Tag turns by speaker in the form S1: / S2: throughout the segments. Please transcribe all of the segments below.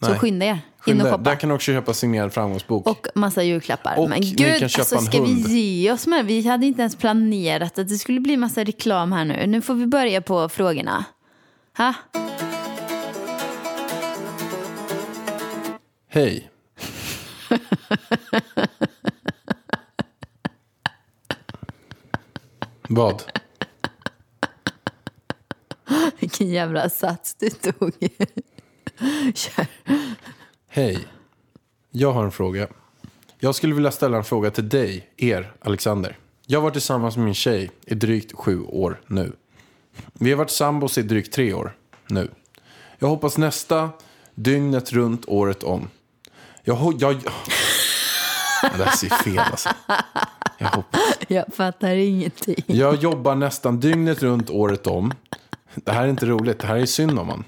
S1: Så
S2: Nej.
S1: skynda er. In
S2: Skynda
S1: och
S2: er.
S1: shoppa.
S2: Där kan du också köpa signerad framgångsbok.
S1: Och massa julklappar.
S2: Och
S1: men
S2: ni
S1: gud,
S2: kan köpa
S1: alltså,
S2: en
S1: ska
S2: hund.
S1: vi ge oss med? Vi hade inte ens planerat att det skulle bli massa reklam här nu. Nu får vi börja på frågorna. Ha?
S2: Hej. Vad?
S1: Vilken jävla sats du tog. Kör.
S2: Hej. Jag har en fråga. Jag skulle vilja ställa en fråga till dig, er, Alexander. Jag har varit tillsammans med min tjej i drygt sju år nu. Vi har varit sambos i drygt tre år nu. Jag hoppas nästa, dygnet runt, året om. Jag ho- jag... Det där ser fel alltså. Jag hoppas.
S1: Jag fattar ingenting.
S2: Jag jobbar nästan dygnet runt året om. Det här är inte roligt, det här är synd om man.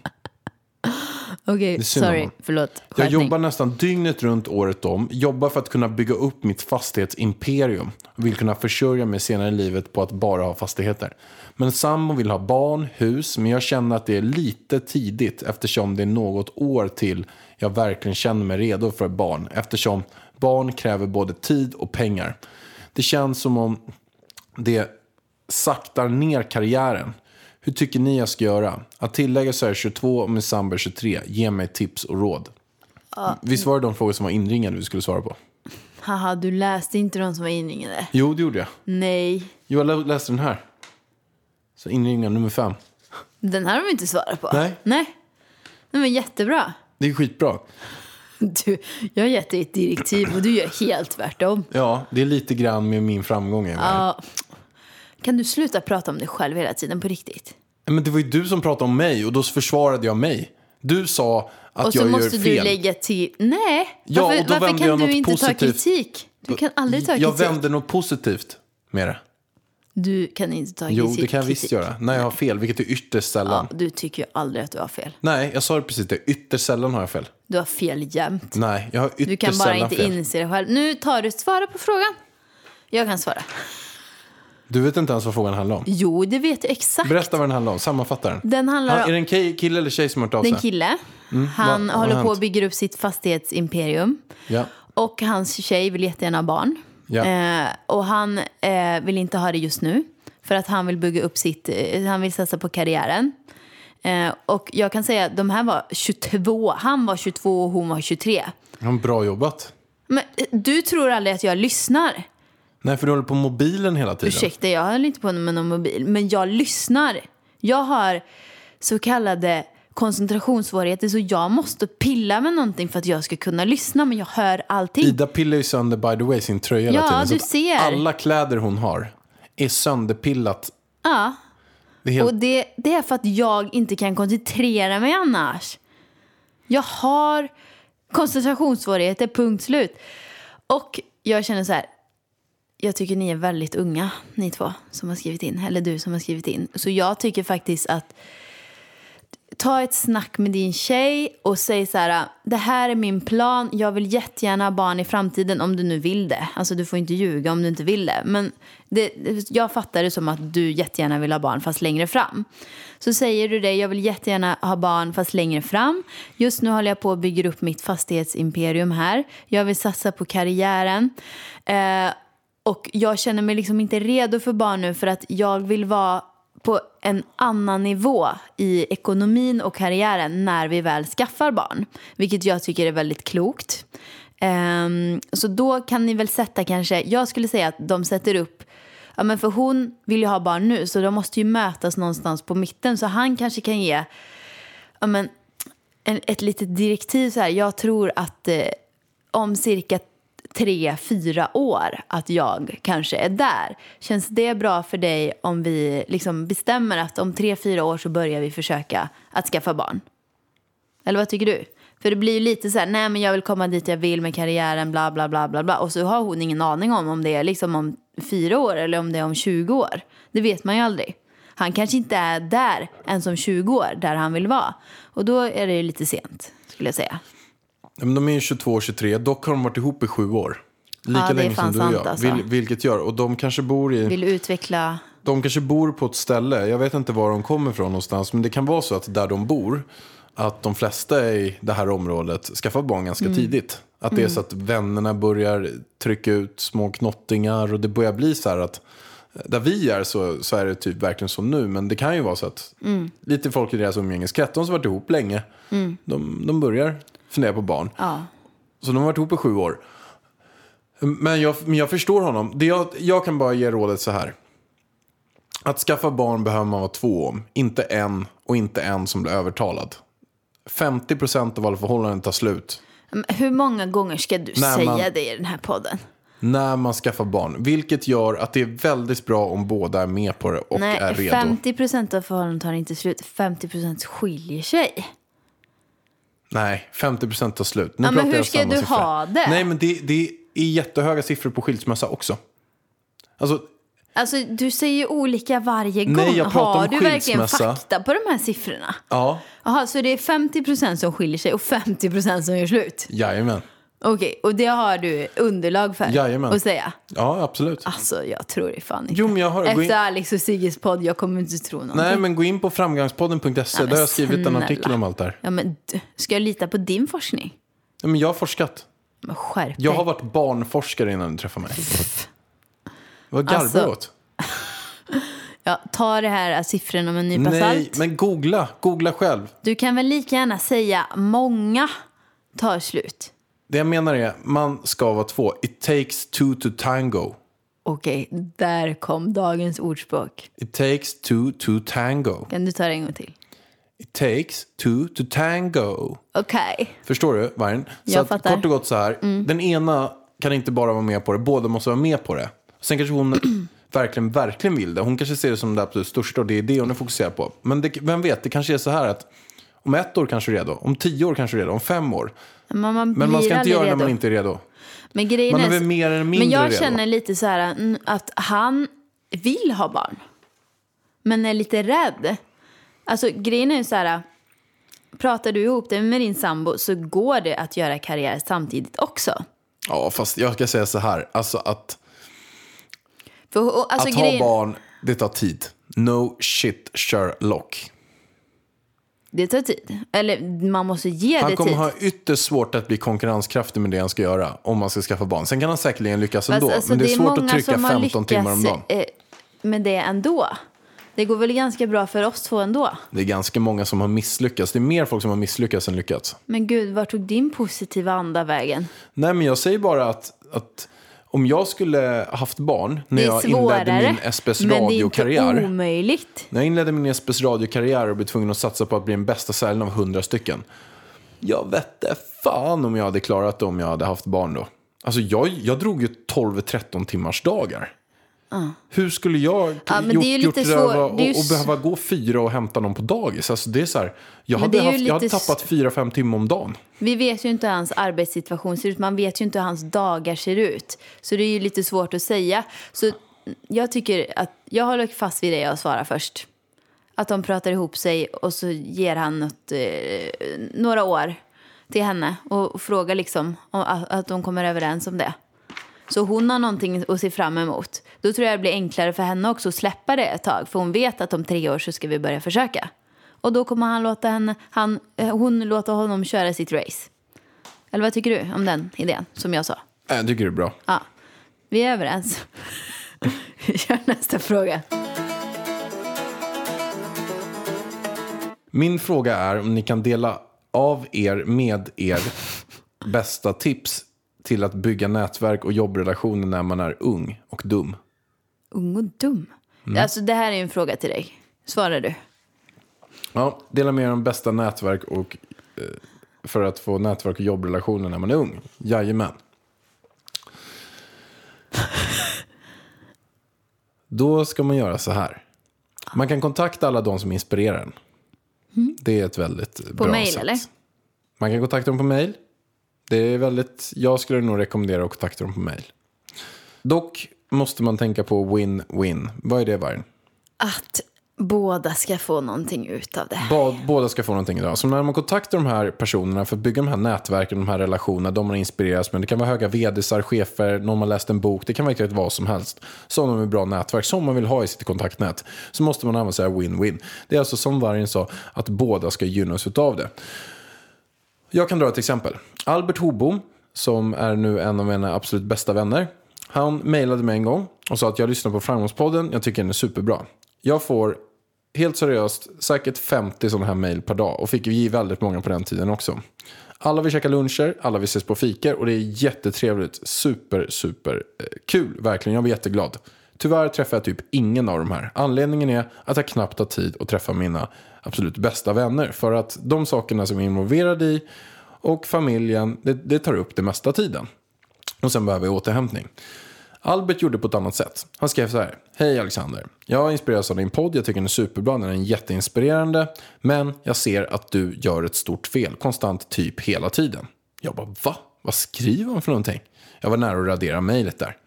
S1: Okej,
S2: är synd om
S1: sorry.
S2: honom.
S1: Förlåt.
S2: Jag
S1: Skärpning.
S2: jobbar nästan dygnet runt året om. Jobbar för att kunna bygga upp mitt fastighetsimperium. Och vill kunna försörja mig senare i livet på att bara ha fastigheter. Men sambo vill ha barn, hus. Men jag känner att det är lite tidigt eftersom det är något år till jag verkligen känner mig redo för barn. Eftersom barn kräver både tid och pengar. Det känns som om det saktar ner karriären. Hur tycker ni jag ska göra? Att tillägga så är jag 22 och min sambo är 23. Ge mig tips och råd. Visst var det de frågor som var inringade vi skulle svara på?
S1: Haha, du läste inte de som var inringade.
S2: Jo, det gjorde jag.
S1: Nej.
S2: Jo, jag lä- läste den här. Så inringad nummer fem.
S1: Den här har vi inte svarat på.
S2: Nej.
S1: Nej. Nej men jättebra.
S2: Det är skitbra.
S1: Du, jag har gett dig ett direktiv och du gör helt tvärtom.
S2: Ja, det är lite grann med min framgång. Ja.
S1: Ja. Kan du sluta prata om dig själv hela tiden på riktigt?
S2: Men det var ju du som pratade om mig och då försvarade jag mig. Du sa att
S1: och så
S2: jag gör
S1: måste
S2: fel.
S1: du lägga till... Nej!
S2: Ja,
S1: varför
S2: och då
S1: varför
S2: vänder
S1: kan
S2: jag
S1: du
S2: något
S1: inte ta
S2: positivt.
S1: kritik? Du kan aldrig ta
S2: jag
S1: kritik.
S2: vände något positivt med det.
S1: Du kan inte ta
S2: Jo,
S1: kritik.
S2: det kan jag visst
S1: kritik.
S2: göra. När jag har fel, vilket är ytterst sällan.
S1: Ja, du tycker ju aldrig att du har fel.
S2: Nej, jag sa det precis. Det är ytterst sällan har jag fel.
S1: Du har fel jämt.
S2: Nej, jag har ytterst
S1: Du kan bara
S2: sällan
S1: inte
S2: fel.
S1: inse det själv. Nu tar du svara på frågan. Jag kan svara.
S2: Du vet inte ens vad frågan handlar om.
S1: Jo, det vet jag exakt.
S2: Berätta vad den handlar om. Sammanfatta den.
S1: Den handlar
S2: Han,
S1: om-
S2: är det en ki- kille eller tjej som har hört av
S1: Det är
S2: sig?
S1: en kille.
S2: Mm. vad-
S1: Han
S2: vad har
S1: håller på
S2: hänt?
S1: och bygger upp sitt fastighetsimperium.
S2: Ja.
S1: Och hans tjej vill jättegärna ha barn.
S2: Ja.
S1: Eh, och han eh, vill inte ha det just nu. För att han vill bygga upp sitt, eh, han vill satsa på karriären. Eh, och jag kan säga att de här var 22, han var 22 och hon var 23.
S2: Han, bra jobbat.
S1: Men eh, du tror aldrig att jag lyssnar.
S2: Nej, för du håller på mobilen hela tiden.
S1: Ursäkta, jag höll inte på med någon mobil. Men jag lyssnar. Jag har så kallade koncentrationssvårigheter så jag måste pilla med någonting för att jag ska kunna lyssna. Men jag hör allting.
S2: Ida pillar ju sönder by the way sin
S1: Ja,
S2: tröja hela tiden.
S1: du
S2: att
S1: ser.
S2: Alla kläder hon har är sönderpillat.
S1: Ja,
S2: Det är helt...
S1: och det, det är för att jag inte kan koncentrera mig annars. Jag har koncentrationssvårigheter, punkt slut. Och jag känner så här, jag tycker ni är väldigt unga, ni två som har skrivit in, eller du som har skrivit in. Så jag tycker faktiskt att ta ett snack med din tjej och säg så här, det här är min plan, jag vill jättegärna ha barn i framtiden om du nu vill det. Alltså du får inte ljuga om du inte vill det. Men det, jag fattar det som att du jättegärna vill ha barn fast längre fram. Så säger du det, jag vill jättegärna ha barn fast längre fram. Just nu håller jag på och bygger upp mitt fastighetsimperium här. Jag vill satsa på karriären. Eh, och jag känner mig liksom inte redo för barn nu för att jag vill vara på en annan nivå i ekonomin och karriären när vi väl skaffar barn. Vilket jag tycker är väldigt klokt. Ehm, så då kan ni väl sätta kanske, jag skulle säga att de sätter upp Ja, men för hon vill ju ha barn nu så de måste ju mötas någonstans på mitten så han kanske kan ge ja, men, en, ett litet direktiv så här. Jag tror att eh, om cirka tre, fyra år att jag kanske är där. Känns det bra för dig om vi liksom bestämmer att om tre, fyra år så börjar vi försöka att skaffa barn? Eller vad tycker du? För det blir ju lite så här, nej men jag vill komma dit jag vill med karriären, bla bla bla bla bla. Och så har hon ingen aning om om det är liksom om fyra år eller om det är om 20 år. Det vet man ju aldrig. Han kanske inte är där ens om 20 år, där han vill vara. Och då är det ju lite sent, skulle jag säga.
S2: Ja, Men de är ju 22 och 23, dock har de varit ihop i sju år. Lika
S1: Ja, det är
S2: länge
S1: fan
S2: som du och jag.
S1: sant, alltså.
S2: Vil, vilket gör, och de kanske, bor i,
S1: Vill utveckla
S2: de kanske bor på ett ställe, jag vet inte var de kommer ifrån någonstans, men det kan vara så att där de bor, att de flesta i det här området skaffar barn ganska tidigt. Att det är så att vännerna börjar trycka ut små knottingar och det börjar bli så här att där vi är så, så är det typ verkligen som nu, men det kan ju vara så att lite folk i deras umgängeskrets, de som varit ihop länge, de, de börjar fundera på barn.
S1: Ja.
S2: Så de har varit ihop i sju år. Men jag, men jag förstår honom. Det jag, jag kan bara ge rådet så här. Att skaffa barn behöver man vara två om. Inte en och inte en som blir övertalad. 50% av alla förhållanden tar slut
S1: Men Mm, Hur många gånger ska du
S2: Nej,
S1: säga
S2: man-
S1: det i den här podden?
S2: när man skaffar barn. Vilket gör att det är väldigt bra om båda är med på det och är
S1: Nej,
S2: redo.
S1: 50 procent av förhållanden tar inte slut. 50 procent skiljer sig.
S2: Nej, 50% tar slut. Nu
S1: Ja, men
S2: pratar
S1: hur
S2: jag
S1: ska
S2: samma
S1: du
S2: siffra.
S1: ha det?
S2: Nej, men det, det är jättehöga siffror på skilsmässa också. Alltså,
S1: Alltså, du säger ju olika varje gång.
S2: Nej, jag pratar
S1: Har
S2: om
S1: du verkligen
S2: skilsmässa.
S1: fakta på de här siffrorna?
S2: ja,
S1: Jaha, så det är 50 procent som skiljer sig och 50 procent som gör slut?
S2: jajamän.
S1: Okej, och det har du underlag för
S2: Jajamän.
S1: att säga?
S2: Ja, absolut.
S1: Alltså, jag tror det fan inte.
S2: Jo, men jag har... gå in-
S1: Efter Alex och Sigges podd, jag kommer inte tro någonting.
S2: Nej, men gå in på framgångspodden.se.
S1: men
S2: Där har jag skrivit en
S1: snälla.
S2: artikel om allt det här.
S1: Ja, men d- ska jag lita på din forskning?
S2: Nej, Men jag har forskat.
S1: Men skärp
S2: Jag
S1: dig.
S2: har varit barnforskare innan du träffade mig. Vad garvar du
S1: Alltså,
S2: åt?
S1: Ja, ta det här äh, siffrorna med en nypa
S2: Nej,
S1: salt.
S2: men googla. Googla själv.
S1: Du kan väl lika gärna säga många tar slut.
S2: Det jag menar är, man ska vara två. It takes two to tango.
S1: Okej, där kom dagens ordspråk.
S2: It takes two to tango.
S1: Kan du ta det en gång till?
S2: It takes two to tango.
S1: Okej.
S2: Förstår du, Vargen? Så
S1: Jag
S2: att,
S1: fattar. Mm.
S2: Kort och gott så här. Den ena kan inte bara vara med på det, båda måste vara med på det. Sen kanske hon verkligen, verkligen vill det. Hon kanske ser det som det absolut största och det är det hon är fokuserad på. Men det, vem vet, det kanske är så här att om ett år kanske du är redo, om tio år kanske du är redo, om fem år.
S1: Men man, blir
S2: Men man ska inte
S1: aldrig
S2: göra det
S1: redo.
S2: när man inte är redo.
S1: Men grejen
S2: Man är
S1: är,
S2: väl mer eller mindre
S1: Men jag
S2: redo.
S1: känner lite så här mm, att han vill ha barn. Men är lite rädd. Alltså grejen är ju så här. Pratar du ihop dig med din sambo så går det att göra karriär samtidigt också.
S2: Ja, fast jag ska säga så här, alltså att,
S1: För, alltså,
S2: att
S1: grejen,
S2: ha barn, det tar tid. No shit Sherlock.
S1: Det tar tid. Eller man måste ge
S2: Han
S1: det
S2: kommer
S1: tid.
S2: ha ytterst svårt att bli konkurrenskraftig med det han ska göra om man ska skaffa barn. Sen kan han säkerligen lyckas
S1: Fast,
S2: ändå,
S1: alltså,
S2: men det är svårt att
S1: många
S2: trycka
S1: som har
S2: 15 timmar om
S1: lyckats,
S2: dagen.
S1: eh, Med det ändå. Det går väl ganska bra för oss två ändå.
S2: Det är ganska många som har misslyckats. Det är mer folk som har misslyckats än lyckats.
S1: Men gud, var tog din positiva anda vägen?
S2: Nej, men jag säger bara att, att om jag skulle haft barn när
S1: Det är
S2: jag inledde
S1: svårare,
S2: min SPS
S1: men det är inte
S2: radiokarriär.
S1: omöjligt.
S2: När jag inledde min SPS radiokarriär och blev tvungen att satsa på att bli den bästa säljaren av 100 stycken. Jag vette fan om jag hade klarat det om jag hade haft barn då. Alltså jag, jag drog ju 12-13 timmars dagar. Hur skulle jag
S1: men det är
S2: gjort,
S1: ju
S2: gjort
S1: lite
S2: röva
S1: svår-
S2: och,
S1: det är ju
S2: och
S1: s-
S2: behöva gå fyra och hämta någon på dagis? Alltså det är så här, jag,
S1: det
S2: hade,
S1: är ju
S2: haft, jag hade
S1: lite s-
S2: tappat fyra fem timmar om dagen.
S1: Vi vet ju inte hur hans arbetssituation ser ut. Man vet ju inte hur hans dagar ser ut. Så det är ju lite svårt att säga. Så jag tycker att jag håller fast vid det jag svarar först. Att de pratar ihop sig och så ger han något, eh, några år till henne och, och frågar liksom om, att, att de kommer överens om det. Så hon har någonting att se fram emot. Då tror jag det blir enklare för henne också att släppa det ett tag. För hon vet att om tre år så ska vi börja försöka. Och då kommer han låta henne, han, eh, hon låta honom köra sitt race. Eller vad tycker du om den idén som jag sa?
S2: Äh, Jag tycker det är bra.
S1: Ja, vi är överens. Vi kör nästa fråga.
S2: Min fråga är om ni kan dela av er med er bästa tips till att bygga nätverk och jobbrelationer när man är ung och dum.
S1: Ung och dum.
S2: Mm.
S1: Alltså det här är ju en fråga till dig. Svarar du?
S2: Ja, dela med er om bästa nätverk och eh, för att få nätverk och jobbrelationer när man är ung. Jajamän. Då ska man göra så här. Man kan kontakta alla de som inspirerar en. Det är ett väldigt bra
S1: Mm. mail,
S2: sätt.
S1: eller?
S2: Man kan kontakta dem på mail. Det är väldigt, jag skulle nog rekommendera att kontakta dem på mail. Dock måste man tänka på win-win. Vad är det, Vargen?
S1: Att båda ska få någonting ut av det.
S2: Bå- Båda ska få någonting idag. Så när man kontaktar de här personerna för att bygga de här nätverken, de här relationerna, de man inspireras med. Det kan vara höga vdisar, chefer, någon man läst en bok. Det kan verkligen vara vad som helst. Sådana med bra nätverk som man vill ha i sitt kontaktnät. Så måste man använda sig av win-win. Det är alltså som Vargen sa, att båda ska gynnas utav det. Jag kan dra ett exempel. Albert Hobom, som är nu en av mina absolut bästa vänner. Han mejlade mig en gång och sa att jag lyssnar på Framgångspodden. Jag tycker den är superbra. Jag får helt seriöst säkert 50 sådana här mejl per dag och fick ju ge väldigt många på den tiden också. Alla vill käka luncher, alla vill ses på fikor och det är jättetrevligt. Super, super eh, kul verkligen. Jag var jätteglad. Tyvärr träffar jag typ ingen av de här. Anledningen är att jag knappt har tid att träffa mina absolut bästa vänner. För att de sakerna som jag är involverad i och familjen, det, det tar upp det mesta tiden. Och sen behöver jag återhämtning. Albert gjorde på ett annat sätt. Han skrev så här. Hej Alexander. Jag inspireras av din podd. Jag tycker den är superbra. Den är jätteinspirerande. Men jag ser att du gör ett stort fel. Konstant typ hela tiden. Jag bara va? Vad skriver han för någonting? Jag var nära att radera mejlet där.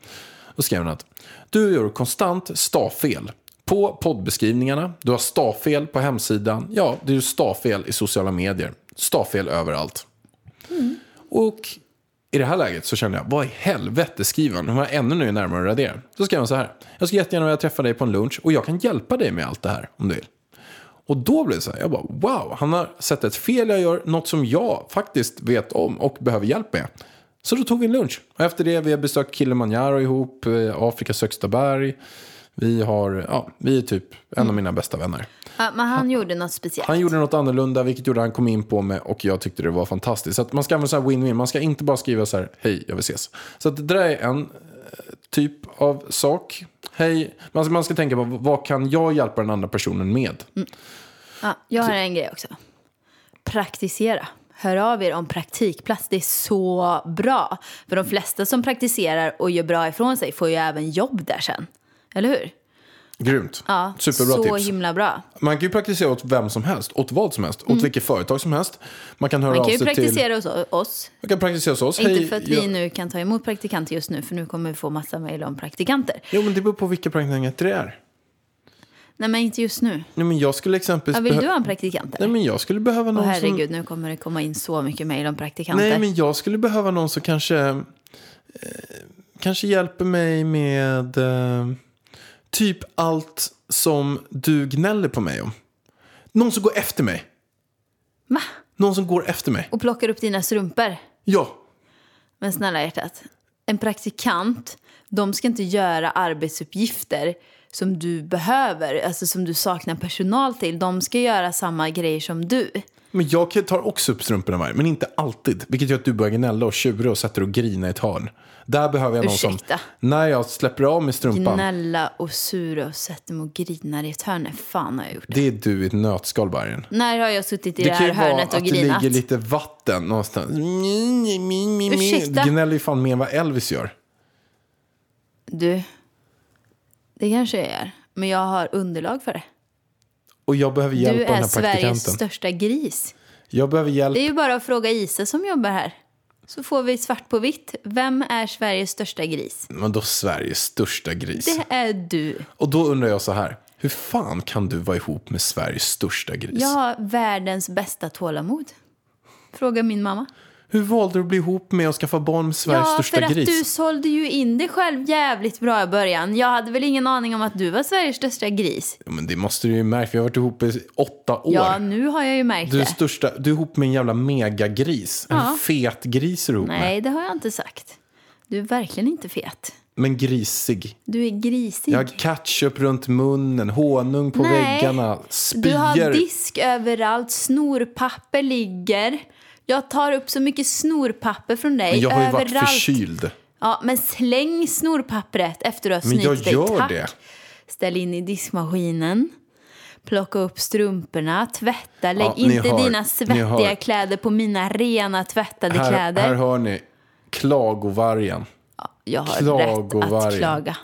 S2: Då skrev han att du gör konstant stavfel på poddbeskrivningarna. Du har stavfel på hemsidan. Ja, det är ju stavfel i sociala medier. Stavfel överallt. Och i det här läget så kände jag, vad i helvete skriver han? Nu var jag ännu nu närmare att radera. Så skrev han så här, jag ska jättegärna vilja träffa dig på en lunch och jag kan hjälpa dig med allt det här om du vill. Och då blev det så här, jag bara wow, han har sett ett fel jag gör, något som jag faktiskt vet om och behöver hjälp med. Så då tog vi en lunch. Och efter det, vi har besökt Kilimanjaro ihop, eh, Afrikas högsta berg. Vi, har, ja, vi är typ en av mina bästa vänner.
S1: Ja, men han gjorde något speciellt.
S2: Han gjorde något annorlunda, vilket gjorde han kom in på mig och jag tyckte det var fantastiskt. Så att man ska använda så här win-win, man ska inte bara skriva så här, hej, jag vill ses. Så att det där är en eh, typ av sak. Hej, man ska, man ska tänka på vad kan jag hjälpa den andra personen med?
S1: Mm. Ja, jag har en grej också. Praktisera. Hör av er om praktikplats. Det är så bra. För de flesta som praktiserar och gör bra ifrån sig får ju även jobb där sen. Eller hur?
S2: Grymt,
S1: Ja,
S2: superbra
S1: så
S2: tips.
S1: himla bra.
S2: Man kan ju praktisera åt vem som helst, åt vad som helst, åt vilket företag som helst. Man kan höra
S1: Mm. Man kan
S2: av
S1: ju
S2: sig till...
S1: praktisera hos oss.
S2: Man kan praktisera hos oss.
S1: Inte för att vi
S2: jag-
S1: nu kan ta emot praktikanter just nu, för nu kommer vi få massa mejl om praktikanter.
S2: Jo, men det beror på vilka praktikanter det är.
S1: Nej, men inte just nu.
S2: Nej, men jag skulle exempelvis...
S1: Ja, vill
S2: behö-
S1: du ha en praktikant?
S2: Nej,
S1: eller?
S2: men jag skulle behöva någon
S1: Åh
S2: som...
S1: herregud, nu kommer det komma in så mycket mejl om praktikanter.
S2: Nej, men jag skulle behöva någon som kanske, eh, kanske hjälper mig med eh, typ allt som du gnäller på mig om. Någon som går efter mig.
S1: Va?
S2: Någon som går efter mig.
S1: Och plockar upp dina strumpor.
S2: Ja,
S1: Men snälla hjärtat, en praktikant, de ska inte göra arbetsuppgifter som du behöver, alltså som du saknar personal till. De ska göra samma grejer som du.
S2: men jag kan- tar också upp strumporna varje, men inte alltid. Vilket gör att du börjar gnälla och tjura och sätter och grina i ett hörn. Där behöver jag någon
S1: Ursäkta.
S2: som, när jag släpper av med strumpan,
S1: Gnälla och sura och sätter mig och grinar i ett hörn. Nej, fan har jag gjort?
S2: det är du i ett nötskal, Bargen.
S1: När har jag suttit i det,
S2: Det kan
S1: här
S2: ju vara
S1: hörnet
S2: att
S1: och
S2: det ligger
S1: grinat?
S2: lite vatten någonstans. mm,
S1: Ursäkta?
S2: Ursäkta? Gnäller ju fan mer än vad Elvis gör.
S1: Du, det kanske jag är, men jag har underlag för det.
S2: Och jag behöver hjälp
S1: Du
S2: av den
S1: är
S2: här
S1: Sveriges
S2: praktikanten.
S1: största gris.
S2: Jag behöver hjälp.
S1: Det är ju bara att fråga Isa som jobbar här. Så får vi svart på vitt. Vem är Sveriges största gris?
S2: Men då Sveriges största gris?
S1: Det är du.
S2: Och då undrar jag så här. Hur fan kan du vara ihop med Sveriges största gris?
S1: Jag har världens bästa tålamod. Fråga min mamma.
S2: Hur valde du att bli ihop med och skaffa barn med Sveriges
S1: Ja,
S2: största
S1: för att
S2: gris?
S1: du sålde ju in dig själv jävligt bra i början. Jag hade väl ingen aning om att du var Sveriges största gris.
S2: Ja, men det måste du ju märkt. Vi har varit ihop i åtta år.
S1: Ja, nu har jag ju märkt
S2: du, är
S1: det.
S2: största, du är ihop med en jävla megagris. En
S1: Ja.
S2: fet gris är du ihop med.
S1: Nej, det har jag inte sagt. Du är verkligen inte fet.
S2: Men grisig.
S1: Du är grisig.
S2: Jag har ketchup runt munnen, honung på
S1: Nej.
S2: väggarna,
S1: Du har
S2: spyor.
S1: disk överallt, snorpapper ligger. Jag tar upp så mycket snorpapper från dig
S2: Men jag har ju
S1: överallt.
S2: varit förkyld.
S1: Ja, men släng snorpappret efter du har
S2: Men
S1: snytt
S2: jag
S1: dig.
S2: gör
S1: Tack.
S2: det.
S1: Ställ in i diskmaskinen. Plocka upp strumporna, tvätta, lägg
S2: Ja, ni
S1: inte
S2: hör. Ni
S1: dina
S2: hör.
S1: svettiga kläder på mina rena tvättade
S2: Här,
S1: kläder.
S2: här hör ni klagovargen.
S1: jag har rätt
S2: klagovargen.
S1: att klaga.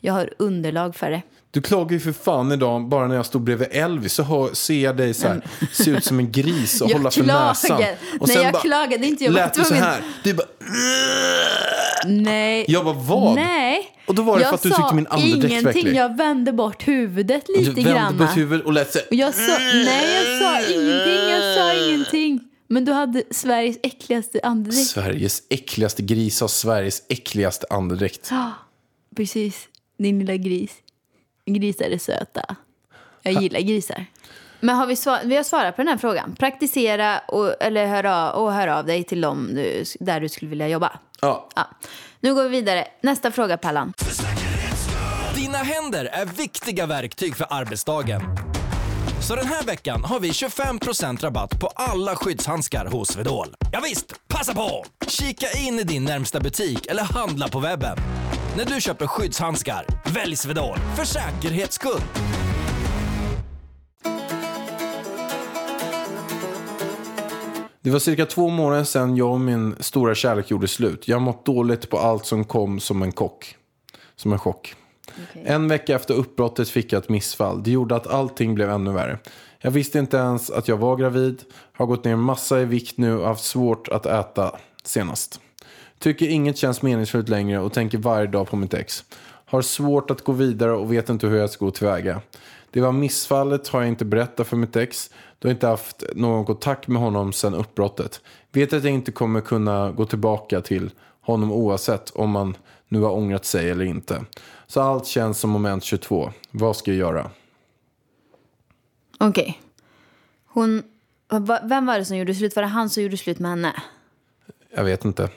S1: Jag har underlag för det.
S2: Du klagar ju för fan idag, bara när jag stod bredvid Elvis så hör, ser jag dig så här, se ut som en gris och
S1: Mm. Jag
S2: hålla för
S1: klagar.
S2: näsan.
S1: Nej, jag klagade inte, jag var
S2: lät du så
S1: tvungen.
S2: här. Du bara...
S1: Nej.
S2: Jag bara, vad?
S1: Nej.
S2: Och då var det för
S1: jag
S2: att du tyckte
S1: sa
S2: min andedräkt var
S1: ingenting.
S2: äcklig.
S1: Jag vände bort huvudet
S2: Du
S1: lite
S2: vände
S1: grann.
S2: på huvudet och lät så här.
S1: Jag sa, nej, jag sa ingenting. Jag sa ingenting. Men du hade Sveriges äckligaste andedräkt.
S2: Sveriges äckligaste gris har Sveriges äckligaste andedräkt.
S1: Ja, precis. Din lilla gris. Grisar är söta. Jag gillar grisar. Men har vi, svar, vi har svarat på den här frågan. Praktisera och, eller hör av, och hör av dig till dem du, där du skulle vilja jobba.
S2: Ja.
S1: Ja. Nu går vi vidare. Nästa fråga, Pallan.
S3: Dina händer är viktiga verktyg för arbetsdagen. Så den här veckan har vi 25% rabatt på alla skyddshandskar hos Swedol. Ja visst, passa på! Kika in i din närmsta butik eller handla på webben. När du köper skyddshandskar, välj Swedol för säkerhets skull.
S2: Det var cirka två månader sedan jag och min stora kärlek gjorde slut. Jag har mått dåligt på allt som kom som en kock. Som en chock. En vecka efter uppbrottet fick jag ett missfall. Det gjorde att allting blev ännu värre. Jag visste inte ens att jag var gravid. Har gått ner massa i vikt nu och haft svårt att äta senast. Tycker inget känns meningsfullt längre och tänker varje dag på mitt ex. Har svårt att gå vidare och vet inte hur jag ska gå tillväga. Det var missfallet har jag inte berättat för mitt ex. Då har jag inte haft någon kontakt med honom sedan uppbrottet. Vet att jag inte kommer kunna gå tillbaka till honom oavsett om man nu har ångrat sig eller inte. Så allt känns som moment 22. Vad ska jag göra?
S1: Okej. Hon... va- Vem var det som gjorde slut? Var det han som gjorde slut med henne?
S2: Jag vet inte.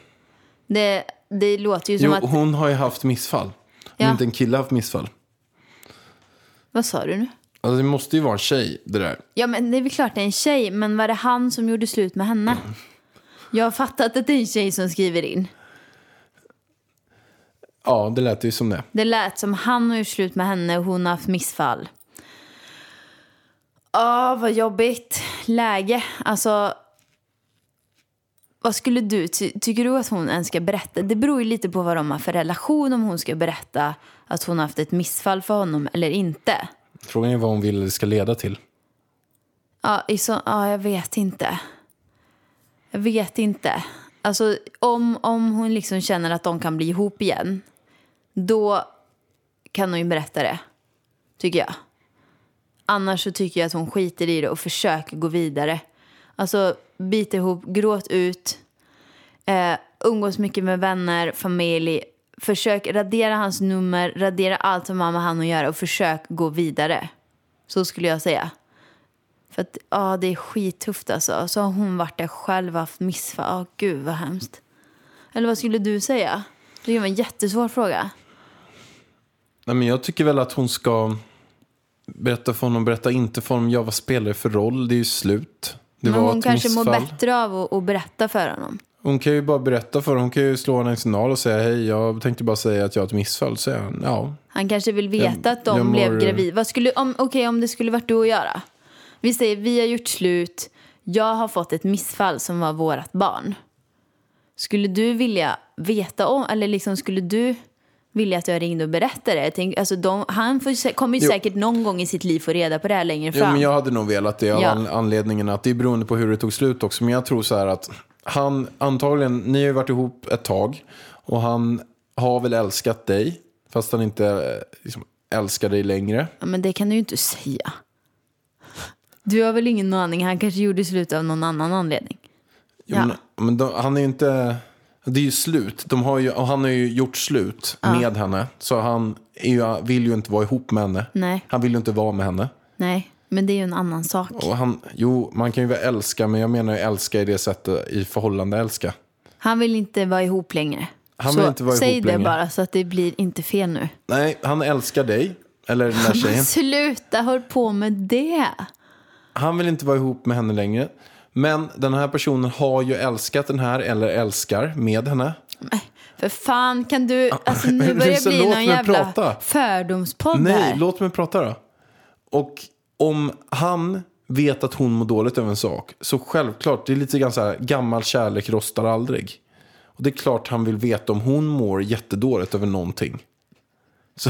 S1: Det, det låter ju som
S2: Jo,
S1: att...
S2: hon har ju haft missfall. Om
S1: Ja.
S2: inte en kille har haft missfall.
S1: Vad sa du nu?
S2: Alltså det måste ju vara en tjej det där.
S1: Ja, men det är väl klart det är en tjej, men var det han som gjorde slut med henne? Jag har fattat att det är en tjej som skriver in.
S2: Ja, det lät ju som det.
S1: Det lät som han har gjort slut med henne och hon har haft missfall. Åh, vad jobbigt läge. Alltså, vad skulle du... Ty- tycker du att hon ens ska berätta? Det beror ju lite på vad de har för relation om hon ska berätta att hon har haft ett missfall för honom eller inte.
S2: Frågan är vad hon vill det ska leda till.
S1: Ja, i så, ja, jag vet inte. Jag vet inte. Alltså, om, om hon liksom känner att de kan bli ihop igen, då kan hon ju berätta det, tycker jag. Annars så tycker jag att hon skiter i det och försöker gå vidare. Alltså, bit ihop, gråt ut, eh, umgås mycket med vänner, familj. Försök radera hans nummer, radera allt som mamma hann att göra och försök gå vidare. Så skulle jag säga. För att, ja, det är skittufft alltså. Så har hon varit där själv och haft missfall. Ja, gud vad hemskt. Eller vad skulle du säga? Det är en jättesvår fråga.
S2: Nej, men jag tycker väl att hon ska berätta för honom, berätta inte för honom. Jag vad spelar det för roll? Det är ju slut. Det
S1: Men
S2: var
S1: hon
S2: ett
S1: kanske
S2: missfall.
S1: mår bättre av att, att berätta för honom.
S2: Hon kan ju bara berätta för honom. Hon kan ju slå honom en signal och säga hej, jag tänkte bara säga att jag har ett missfall. Så säger han, ja.
S1: Han kanske vill veta
S2: Jag-
S1: att de
S2: jag mår-
S1: blev gravida. Vad skulle, om, okej, om det skulle varit du och jag då? Vi säger, vi har gjort slut. Jag har fått ett missfall som var vårt barn. Skulle du vilja veta om, eller liksom skulle du vilja att jag ringde och berättade det? Jag tänker, alltså de, han får, ju sä- kommer ju
S2: Jo.
S1: säkert någon gång i sitt liv få reda på det här längre
S2: Jo,
S1: fram.
S2: men jag hade nog velat det av
S1: Ja.
S2: an- anledningen att det är beroende på hur det tog slut också. Men jag tror så här att han antagligen, ni har ju varit ihop ett tag och han har väl älskat dig fast han inte eh, liksom, älskar dig längre.
S1: Ja, men det kan du ju inte säga. Du har väl ingen aning? Han kanske gjorde slut av någon annan anledning.
S2: Jo,
S1: Ja.
S2: Men, men de, han är ju inte... Det är ju slut. De har ju, och han har ju gjort slut med henne. Så han är ju, vill ju inte vara ihop med henne.
S1: Nej.
S2: Han vill ju inte vara med henne.
S1: Nej, men det är ju en annan sak.
S2: Och han, jo, man kan ju väl älska, men jag menar ju älska i det sättet i förhållande älska.
S1: Han vill inte vara ihop längre.
S2: Han
S1: så
S2: vill inte vara
S1: säg
S2: ihop
S1: det
S2: längre.
S1: bara så att det blir inte fel nu.
S2: Nej, han älskar dig. Eller den där tjejen.
S1: Sluta håll på med det.
S2: Han vill inte vara ihop med henne längre. Men den här personen har ju älskat den här, eller älskar med henne.
S1: För fan kan du, alltså
S2: Ah, men
S1: nu börjar det
S2: Lisa,
S1: bli
S2: låt
S1: någon
S2: mig
S1: jävla
S2: prata.
S1: fördomspodd
S2: Nej,
S1: här.
S2: låt mig prata då. Och om han vet att hon mår dåligt över en sak så självklart, det är lite grann så här, gammal kärlek rostar aldrig. Och det är klart han vill veta om hon mår jättedåligt över någonting. Så,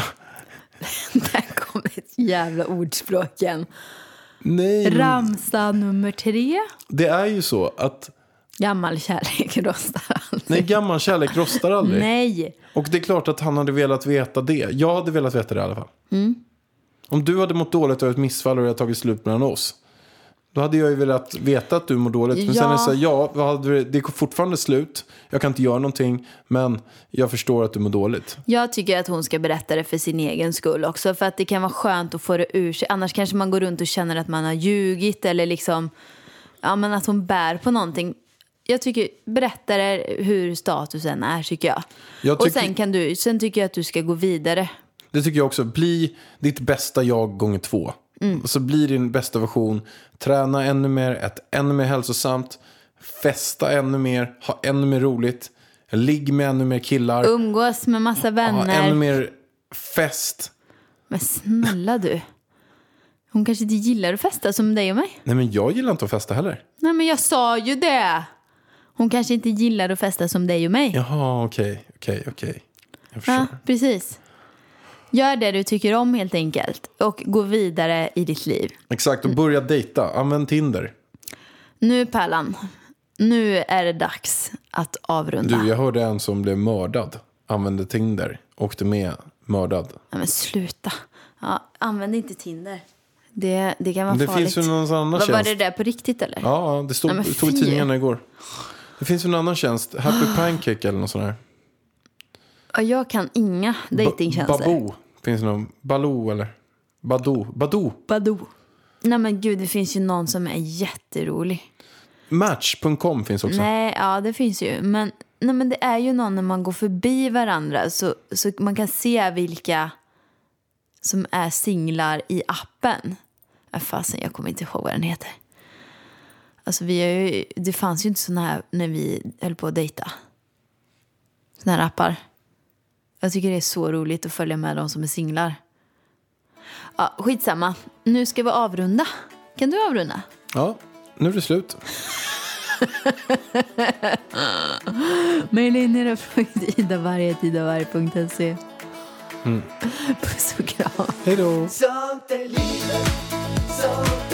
S1: Där kom ett jävla ordspråk igen.
S2: nej, men
S1: Ramsa nummer tre.
S2: det är ju så att
S1: Gammal kärlek rostar aldrig.
S2: nej, gammal kärlek rostar aldrig.
S1: Nej.
S2: Och det är klart att han hade velat veta det. Jag hade velat veta det i alla fall. Om du hade mått dåligt över ett missfall och det hade tagit slut mellan oss. Då hade jag ju velat veta att du mår dåligt. Men sen är det
S1: Ja.
S2: så här, ja, vad hade du- det är fortfarande slut. Jag kan inte göra någonting. Men jag förstår att du mår dåligt.
S1: Jag tycker att hon ska berätta det för sin egen skull också. För att det kan vara skönt att få det ur sig. Annars kanske man går runt och känner att man har ljugit eller liksom, ja men att hon bär på någonting. Jag tycker, berätta det hur statusen är tycker jag.
S2: Jag
S1: Och
S2: tycker-
S1: sen kan du, sen tycker jag att du ska gå vidare.
S2: Det tycker jag också. Bli ditt bästa jag gånger två. Så bli din bästa version. Träna ännu mer, ät ännu mer hälsosamt. Festa ännu mer, ha ännu mer roligt. Ligg med ännu mer killar.
S1: Umgås med massa
S2: ha
S1: vänner.
S2: ännu mer fest.
S1: Men snälla du. Hon kanske inte gillar att festa som dig och mig.
S2: Nej men jag gillar inte att festa heller.
S1: Nej men jag sa ju det. Hon kanske inte gillar att festa som dig och mig.
S2: Jaha, okej, okej, okej. Jag förstår.
S1: Ja, precis. Gör det du tycker om helt enkelt och gå vidare i ditt liv.
S2: Exakt, och börja dejta. Använd Tinder.
S1: Nu Pärlan, nu är det dags att avrunda.
S2: Du, jag hörde en som blev mördad. Använde Tinder. Åkte med mördad.
S1: Nej, men sluta. Ja, använd inte Tinder. Det, det kan vara
S2: det
S1: farligt.
S2: finns ju någon annan
S1: Vad,
S2: tjänst.
S1: var det där på riktigt eller?
S2: Ja, det stod,
S1: Nej, men
S2: det stod i
S1: fy.
S2: tidningarna igår. Det finns ju en annan tjänst. Happy Pancake eller något sånt där.
S1: Ja, Jag kan inga
S2: Ba-
S1: dejtingtjänster.
S2: Baboo. Finns det någon? Baloo eller? Badoo. Badoo.
S1: Badoo. Nej men gud, det finns ju någon som är jätterolig.
S2: Match.com finns också.
S1: Nej, ja det finns ju. Men, nej, men det är ju någon när man går förbi varandra så, så man kan se vilka som är singlar i appen. Ja, fasen, jag kommer inte ihåg vad den heter. Alltså vi är ju, det fanns ju inte såna här när vi höll på att dejta. Såna här appar. Jag tycker det är så roligt att följa med de som är singlar. Ja, skitsamma. Nu ska vi avrunda. Kan du avrunda?
S2: Ja, nu är det slut.
S1: Mejla in era frågor till idavarg.idavarg.se. Puss och kram.
S2: Hej då.
S4: Sånt är livet, sånt